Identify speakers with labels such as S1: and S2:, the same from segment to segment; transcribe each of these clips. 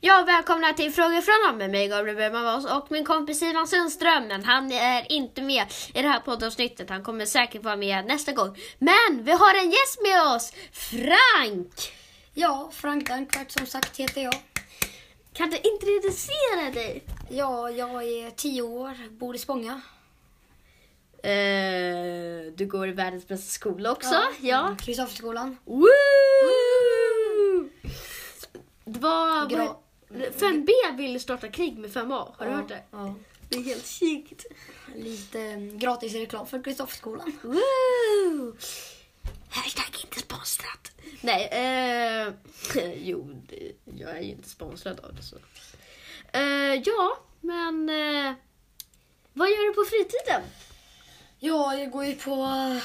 S1: Ja, välkomna till Frågor från och med mig Gabriel Bergman Wahls och min kompis Ivan Sundström. Men han är inte med i det här poddavsnittet. Han kommer säkert vara med nästa gång. Men vi har en gäst med oss! Frank!
S2: Ja, Frank Dankvart som sagt heter jag.
S1: Kan du introducera dig?
S2: Ja, jag är tio år, bor i Spånga.
S1: Eh, du går i världens bästa skola också. Ja.
S2: Mm, Kristofferskolan.
S1: Woo! Det var...
S2: Gra-
S1: 5B vill starta krig med 5A. Har du
S2: Ja,
S1: hört det?
S2: Ja.
S1: Det är helt sjukt.
S2: Lite mm, gratis reklam för Kristofferskolan.
S1: Woo! Hashtag inte sponsrat. Nej, eh, jo, det, jag är ju inte sponsrad av det så. Eh, ja, men eh, vad gör du på fritiden?
S2: Ja, jag går ju på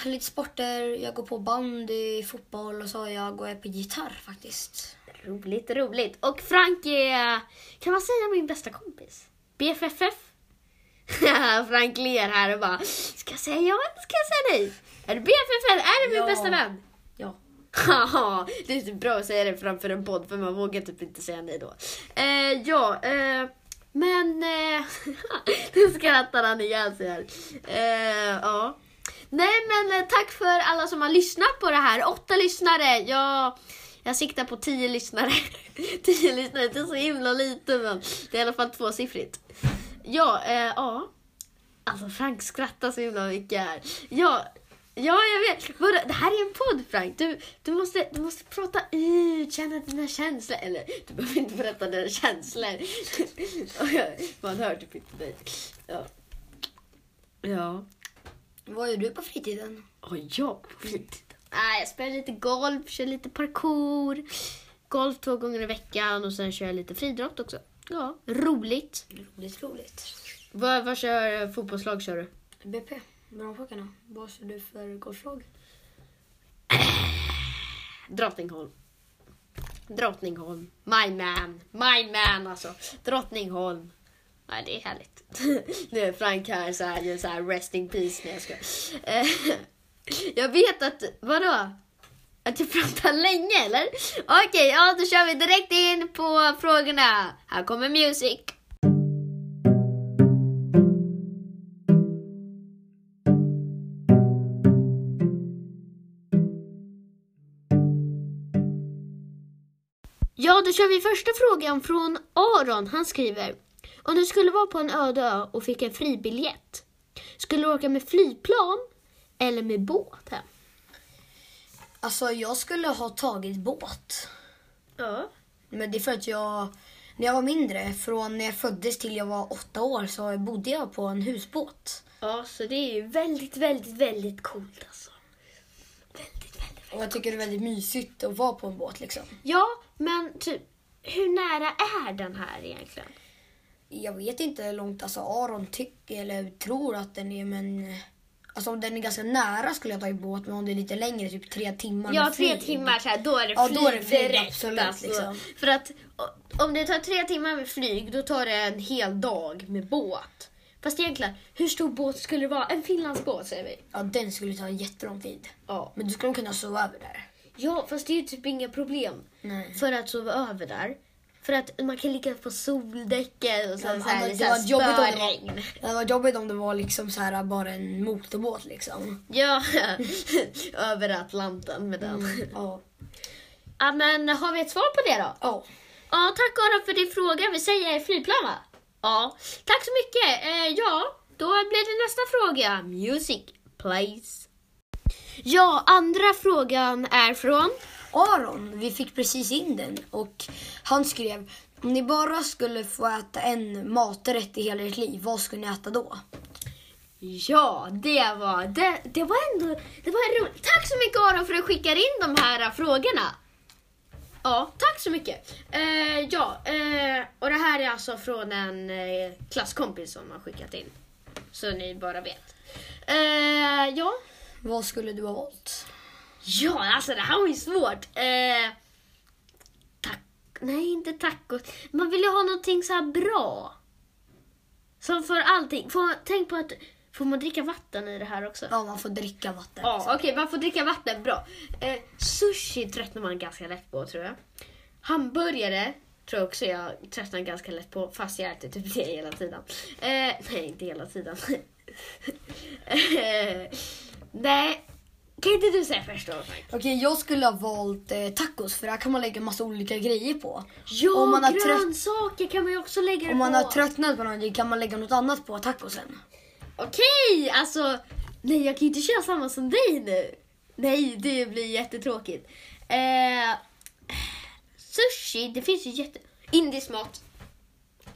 S2: eh, lite sporter. Jag går på bandy, fotboll och så jag går jag på gitarr faktiskt.
S1: Roligt, roligt. Och Frank är, kan man säga min bästa kompis? BFFF? Frank ler här och bara, ska jag säga ja eller ska jag säga nej? Är du BFFF? Är du min
S2: Ja.
S1: bästa vän?
S2: Ja.
S1: Haha, det är typ bra att säga det framför en podd för man vågar typ inte säga nej då. Eh, ja, eh, men... Eh, nu skrattar han ihjäl sig här. Eh, ja. Nej men eh, tack för alla som har lyssnat på det här. Åtta lyssnare. Jag, jag siktar på tio lyssnare. tio lyssnare, det är så himla lite men det är i alla fall tvåsiffrigt. Ja, eh, ja. Alltså Frank skrattar så himla mycket här. Ja, ja jag vet. Vadå? Det här är en podd Frank. Du, du, måste, du måste prata ut, känna dina känslor. Eller du behöver inte berätta dina känslor. Man hör typ inte dig. Ja. Ja.
S2: Vad gör du på fritiden?
S1: Och jag på fritiden? Nej, jag spelar lite golf, kör lite parkour. Golf två gånger i veckan och sen kör jag lite friidrott också. Ja, roligt.
S2: Roligt, roligt.
S1: Vad, vad kör eh, fotbollslag kör du?
S2: BP, Brommapojkarna. Vad kör du för golflag?
S1: Drottningholm. Drottningholm. My man. My man alltså. Drottningholm. Nej, det är härligt. nu är Frank här så här, gör så här rest in peace. när jag ska. Eh, jag vet att, vadå? Att jag pratar länge eller? Okej, ja då kör vi direkt in på frågorna. Här kommer music. Ja, då kör vi första frågan från Aron. Han skriver. Om du skulle vara på en öde ö och fick en fribiljett, skulle du åka med flygplan eller med båt hem?
S2: Alltså, jag skulle ha tagit båt.
S1: Ja.
S2: Men det är för att jag, när jag var mindre, från när jag föddes till jag var åtta år så bodde jag på en husbåt.
S1: Ja, så det är ju väldigt, väldigt, väldigt coolt alltså. Väldigt, väldigt.
S2: Och jag tycker det är väldigt mysigt att vara på en båt liksom.
S1: Ja, men typ, hur nära är den här egentligen?
S2: Jag vet inte hur långt alltså Aron tycker eller tror att den är men alltså om den är ganska nära skulle jag ta i båt men om det är lite längre, typ tre timmar.
S1: Ja,
S2: med
S1: tre
S2: flyg.
S1: timmar så här, då är det
S2: Ja,
S1: flyg
S2: då är det flyg,
S1: direkt.
S2: absolut,
S1: alltså.
S2: liksom.
S1: För att o- om det tar tre timmar med flyg, då tar det en hel dag med båt. Fast egentligen, hur stor båt skulle det vara? En finlandsbåt säger vi.
S2: Ja, den skulle ta jättelång tid.
S1: Ja.
S2: Men du skulle kunna sova över där.
S1: Ja, fast det är ju typ inga problem
S2: Nej.
S1: för att sova över där. För att man kan ligga på soldäcket och sen
S2: Ja,
S1: så här,
S2: men
S1: det
S2: det var
S1: så
S2: jobbigt om
S1: här
S2: det var-
S1: spöregn.
S2: Det var jobbigt om det var liksom så här bara en motorbåt liksom.
S1: Ja, över Atlanten med den.
S2: Ja.
S1: Ja, men har vi ett svar på det då?
S2: Ja.
S1: Ja, tack Aron för din fråga. Vi säger flygplan va? Ja. Tack så mycket. Eh, ja, då blir det nästa fråga. Music, please. Ja, andra frågan är från...
S2: Aron, vi fick precis in den och han skrev om ni bara skulle få äta en maträtt i hela ert liv, vad skulle ni äta då?
S1: Ja, det var... Det, det var ändå... Det var roligt. Tack så mycket Aron för att du skickar in de här eh, frågorna. Ja, tack så mycket. Eh, ja, eh, och det här är alltså från en eh, klasskompis som har skickat in. Så ni bara vet. Eh, ja,
S2: Vad skulle du ha valt?
S1: Ja, alltså det här var ju svårt. Eh, tack. Nej, inte tacos. Man vill ju ha någonting så här bra. Som för allting. Får man, tänk på att, får man dricka vatten i det här också?
S2: Ja, man får dricka vatten. liksom.
S1: Ja, okej, man får dricka vatten. Bra. Eh, sushi tröttnar man ganska lätt på tror jag. Hamburgare tror jag också jag tröttnar ganska lätt på fast jag äter typ det hela tiden. Eh, nej, inte hela tiden. eh, nej, kan inte du säga först då? Frank?
S2: Okej, jag skulle ha valt eh, tacos för där kan man lägga massa olika grejer på.
S1: Ja,
S2: Om man har trött-
S1: grönsaker kan man ju också lägga det
S2: Om man
S1: på.
S2: har tröttnat på någonting kan man lägga något annat på tacosen.
S1: Okej, alltså. Nej, jag kan ju inte köra samma som dig nu. Nej, det blir jättetråkigt. Eh, sushi, det finns ju jätte... Indisk mat.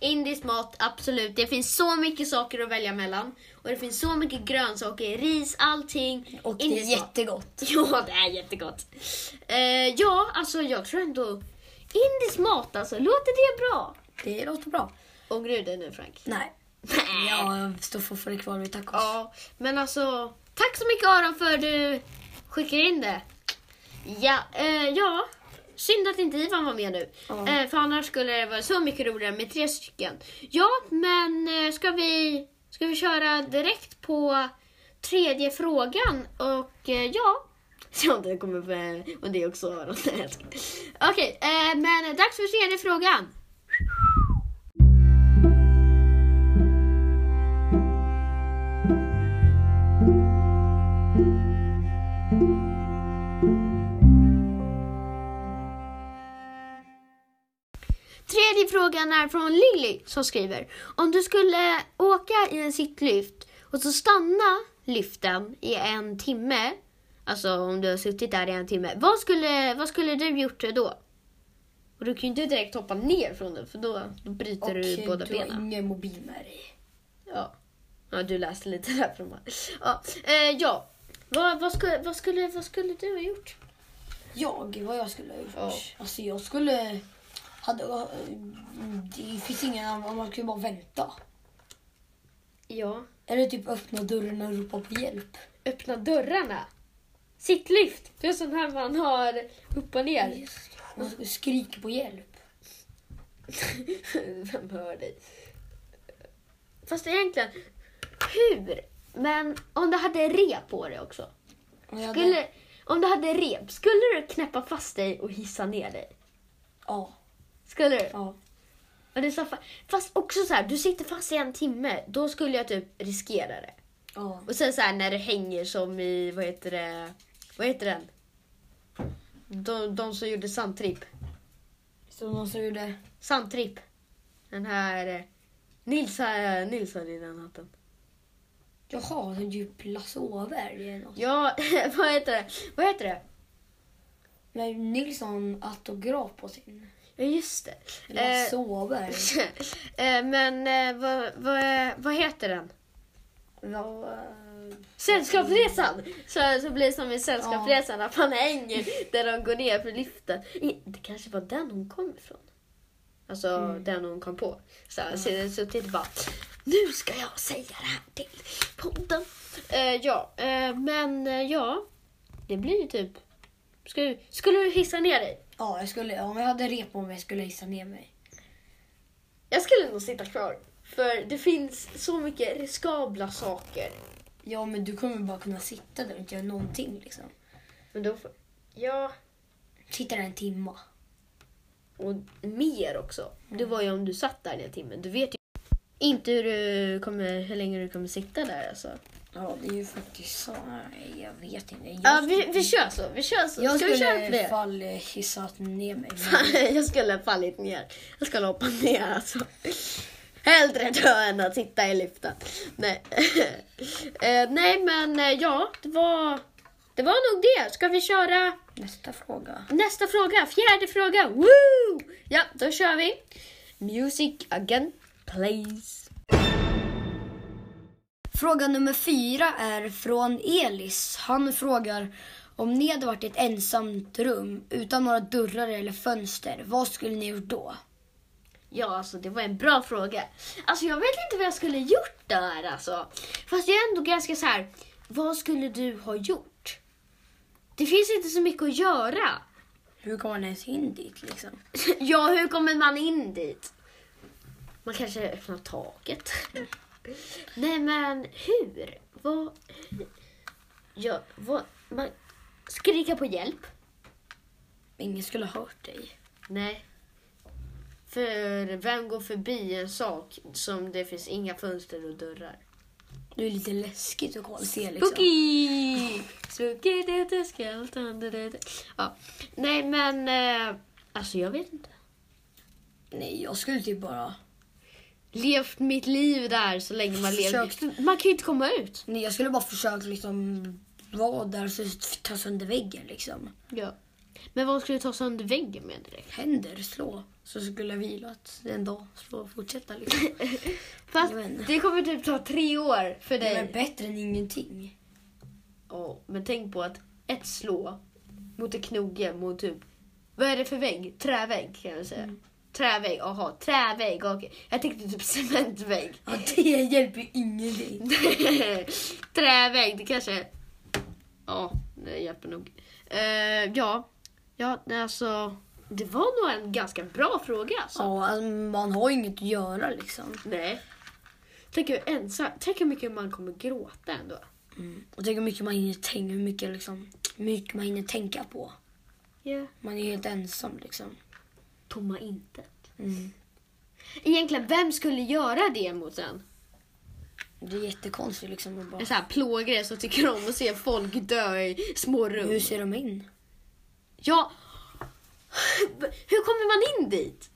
S1: Indisk mat, absolut. Det finns så mycket saker att välja mellan. Och det finns så mycket grönsaker, ris, allting.
S2: Och det är
S1: Indisk mat.
S2: jättegott.
S1: Ja, det är jättegott. Eh, ja, alltså jag tror ändå... Indisk mat, alltså. Låter det bra?
S2: Det låter bra.
S1: Ångrar du dig nu, Frank?
S2: Nej, jag står fortfarande kvar vid tacos.
S1: Ja, men alltså. Tack så mycket Aron för du skickar in det. Ja, eh, ja. Synd att inte Ivan var med nu.
S2: Ja.
S1: Eh, för annars skulle det vara så mycket roligare med tre stycken. Ja, men eh, ska, vi, ska vi köra direkt på tredje frågan? Och eh, ja. Se om det kommer med, och det är också Aron. Nej, jag skojar. Okej, eh, men dags för tredje frågan. Tredje frågan är från Lilly som skriver. Om du skulle åka i en sittlyft och så stanna lyften i en timme, alltså om du har suttit där i en timme, vad skulle, vad skulle du gjort då? Och du kan ju inte direkt hoppa ner från den för då, då bryter du båda
S2: du har
S1: benen.
S2: ingen mobil med dig.
S1: Ja. ja, du läste lite där från mig. Ja, eh, ja. Vad, vad, skulle, vad, skulle, vad skulle du ha gjort?
S2: Jag, vad jag skulle ha gjort?
S1: Ja.
S2: Alltså jag skulle... Hade, eh, det finns ingen annan, man skulle bara vänta.
S1: Ja,
S2: Eller typ öppna dörren och ropa på hjälp.
S1: öppna dörrarna. Sittlyft, det är sån här man har upp och ner.
S2: Man skulle skrika på hjälp.
S1: Vem hör dig? Fast egentligen, hur? Men om du hade rep på dig också.
S2: Och jag hade-
S1: Skulle, om du hade rep, skulle du knäppa fast dig och hissa ner dig?
S2: Ja,
S1: Skulle du?
S2: ja.
S1: Och det är så fa- fast också så här, du sitter fast i en timme, då skulle jag typ riskera det.
S2: ja.
S1: Och sen så här när det hänger som i, vad heter det, vad heter den? De, de som gjorde sandtripp.
S2: Så någon som gjorde...
S1: Sandtripp. Den här, eh, Nils, har- Nils hade ju den hatten.
S2: Jaha, en djup lasåberg eller något.
S1: Ja, vad heter det? Vad heter det?
S2: Men Nilsson autograf på sin.
S1: Ja, just det. Eh,
S2: Lasåberg.
S1: eh, men eh, vad, vad, vad heter den?
S2: Ja, eh,
S1: Sällskapsresan! Så, så blir det som i Sällskapsresan, att man hänger där de går ner för liften. I- Det kanske var den hon kom ifrån. Alltså den hon kom på. Så mm. suttit och bara, nu ska jag säga det här till podden. Eh, ja, eh, men eh, ja, det blir ju typ... Skulle, skulle du hissa ner dig?
S2: Ja, jag skulle, om jag hade rep på mig skulle jag hissa ner mig.
S1: Jag skulle nog sitta kvar. För det finns så mycket riskabla saker.
S2: Ja, men du kommer bara kunna sitta där och inte göra någonting liksom.
S1: Men då får... Ja.
S2: Sitta där en timma.
S1: Och mer också. Det var ju om du satt där den timmen. Du vet ju inte hur, du kommer, hur länge du kommer sitta där alltså.
S2: Ja, det är ju faktiskt så. Nej, Jag vet inte. Jag,
S1: Ja, vi, vi kör så. Vi kör så.
S2: jag
S1: Ska vi köra
S2: skulle
S1: på
S2: i alla
S1: det?
S2: fall eh, hissat ner mig.
S1: jag skulle ha fallit ner. Jag skulle hoppa ner alltså. Hellre dö än att sitta i liften. Nej, eh, nej men eh, ja, det var, det var nog det. Ska vi köra
S2: Nästa fråga.
S1: Nästa fråga, fjärde fråga. Woo! Ja, då kör vi. Music again, please.
S2: Fråga nummer fyra är från Elis. Han frågar om ni hade varit i ett ensamt rum utan några dörrar eller fönster, vad skulle ni gjort då?
S1: Ja, alltså det var en bra fråga. Alltså jag vet inte vad jag skulle gjort där alltså. Fast jag är ändå ganska så här. vad skulle du ha gjort? Det finns inte så mycket att göra.
S2: Hur kom man ens in dit liksom?
S1: Ja, hur kommer man in dit? Man kanske öppnar taket. Nej, men hur? Vad... Ja, vad... Man... Skrika på hjälp?
S2: Ingen skulle ha hört dig.
S1: Nej. För vem går förbi en sak som det finns inga fönster och dörrar?
S2: Det är lite läskigt att kolla, se liksom.
S1: Spooky! Spooky det är skeleton. det är det. Ja. Nej men, eh, alltså jag vet inte.
S2: Nej, jag skulle typ bara...
S1: Levt mitt liv där så länge man
S2: Försökt.
S1: lever. Man kan ju inte komma ut.
S2: Nej, jag skulle bara försöka liksom vara där och så ta sönder väggen liksom.
S1: Ja. Men vad ska du ta sönder väggen med direkt?
S2: Händer, slå. Så skulle jag vilat en dag, slå och fortsätta liksom.
S1: Fast
S2: Jag vet inte.
S1: det kommer typ ta tre år för
S2: Det
S1: dig.
S2: är bättre än ingenting.
S1: Ja, men tänk på att ett slå mot en knoge mot typ, vad är det för vägg? Trävägg kan jag säga. Trävägg, aha, trävägg, okej. Jag tänkte typ cementvägg.
S2: Ja, det hjälper ju ingenting.
S1: Trävägg, det kanske... Ja, det hjälper nog. Eh, ja, ja, nej, alltså. Det var nog en ganska bra fråga alltså.
S2: Ja, alltså, man har ju inget att göra liksom.
S1: Nej. Tänk hur ensam, tänk hur mycket man kommer gråta ändå.
S2: Och tänk hur mycket man hinner tänka, hur mycket, liksom, hur mycket man hinner tänka på.
S1: Yeah.
S2: Man är helt ensam liksom.
S1: Tomma intet.
S2: Mm.
S1: Egentligen, vem skulle göra det mot en?
S2: Det är jättekonstigt liksom att bara...
S1: En sån här plågare som tycker om att se folk dö i små rum.
S2: Hur ser de in?
S1: Ja. Hur kommer man in dit?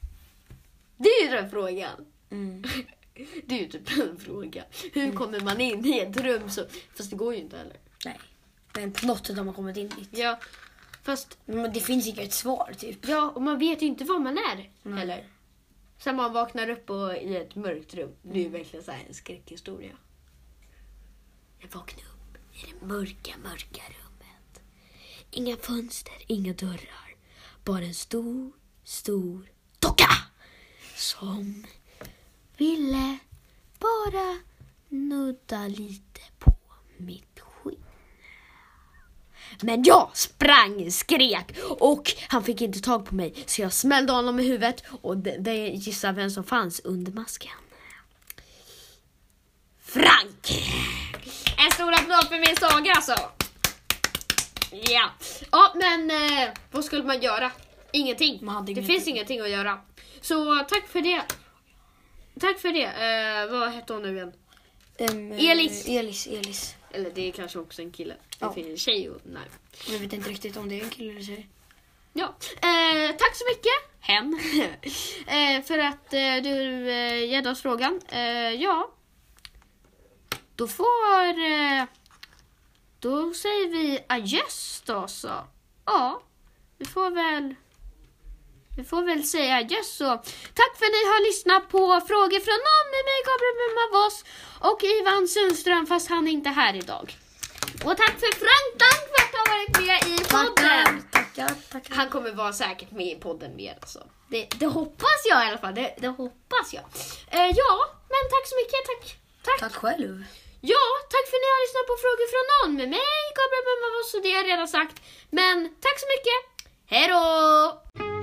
S1: Det är ju den frågan.
S2: Mm.
S1: Det är ju typ en fråga. Hur kommer man in i ett rum? Så, fast det går ju inte heller.
S2: Nej. Men på något sätt har man kommit in dit.
S1: Ja, fast
S2: Men det finns inget svar typ.
S1: ja, och man vet ju inte var man är
S2: Nej.
S1: heller. Sen man vaknar upp och, i ett mörkt rum. Det är ju verkligen så här en skräckhistoria. Jag vaknade upp i det mörka, mörka rummet. Inga fönster, inga dörrar. Bara en stor, stor docka! Som ville bara nudda lite på mitt skinn. Men jag sprang, skrek och han fick inte tag på mig så jag smällde honom i huvudet och det, det gissa vem som fanns under masken. Frank! En stor applåd för min saga alltså. Ja, ja men eh, vad skulle man göra? Ingenting.
S2: Man hade
S1: det
S2: ingenting.
S1: finns ingenting att göra. Så tack för det. Tack för det. Eh, vad hette hon nu igen?
S2: Ehm, eh,
S1: Elis.
S2: Elis, Elis.
S1: Eller det är kanske också en kille. Det
S2: Ja.
S1: finns en tjej och nej.
S2: Jag vet inte riktigt om det är en kille eller tjej.
S1: Ja, eh, tack så mycket hen eh, för att eh, du eh, gett oss frågan. Eh, ja, då får... Eh, då säger vi adjöss då så. Ja, vi får väl... Vi får väl säga adjöss så. Tack för att ni har lyssnat på frågor från någon med mig, Gabriel Mumavoss och Ivan Sundström fast han är inte här idag. Och tack för Frank Dank för att han varit med i podden.
S2: Tackar, tackar, tackar.
S1: Han kommer vara säkert med i podden mer alltså. Det, det hoppas jag i alla fall. Det, det hoppas jag. Eh, ja, men tack så mycket. Tack. Tack.
S2: Tack själv.
S1: Ja, tack för att ni har lyssnat på Frågor från någon med mig, Gabriel Mumavos och det har jag redan sagt. Men tack så mycket. Hej då!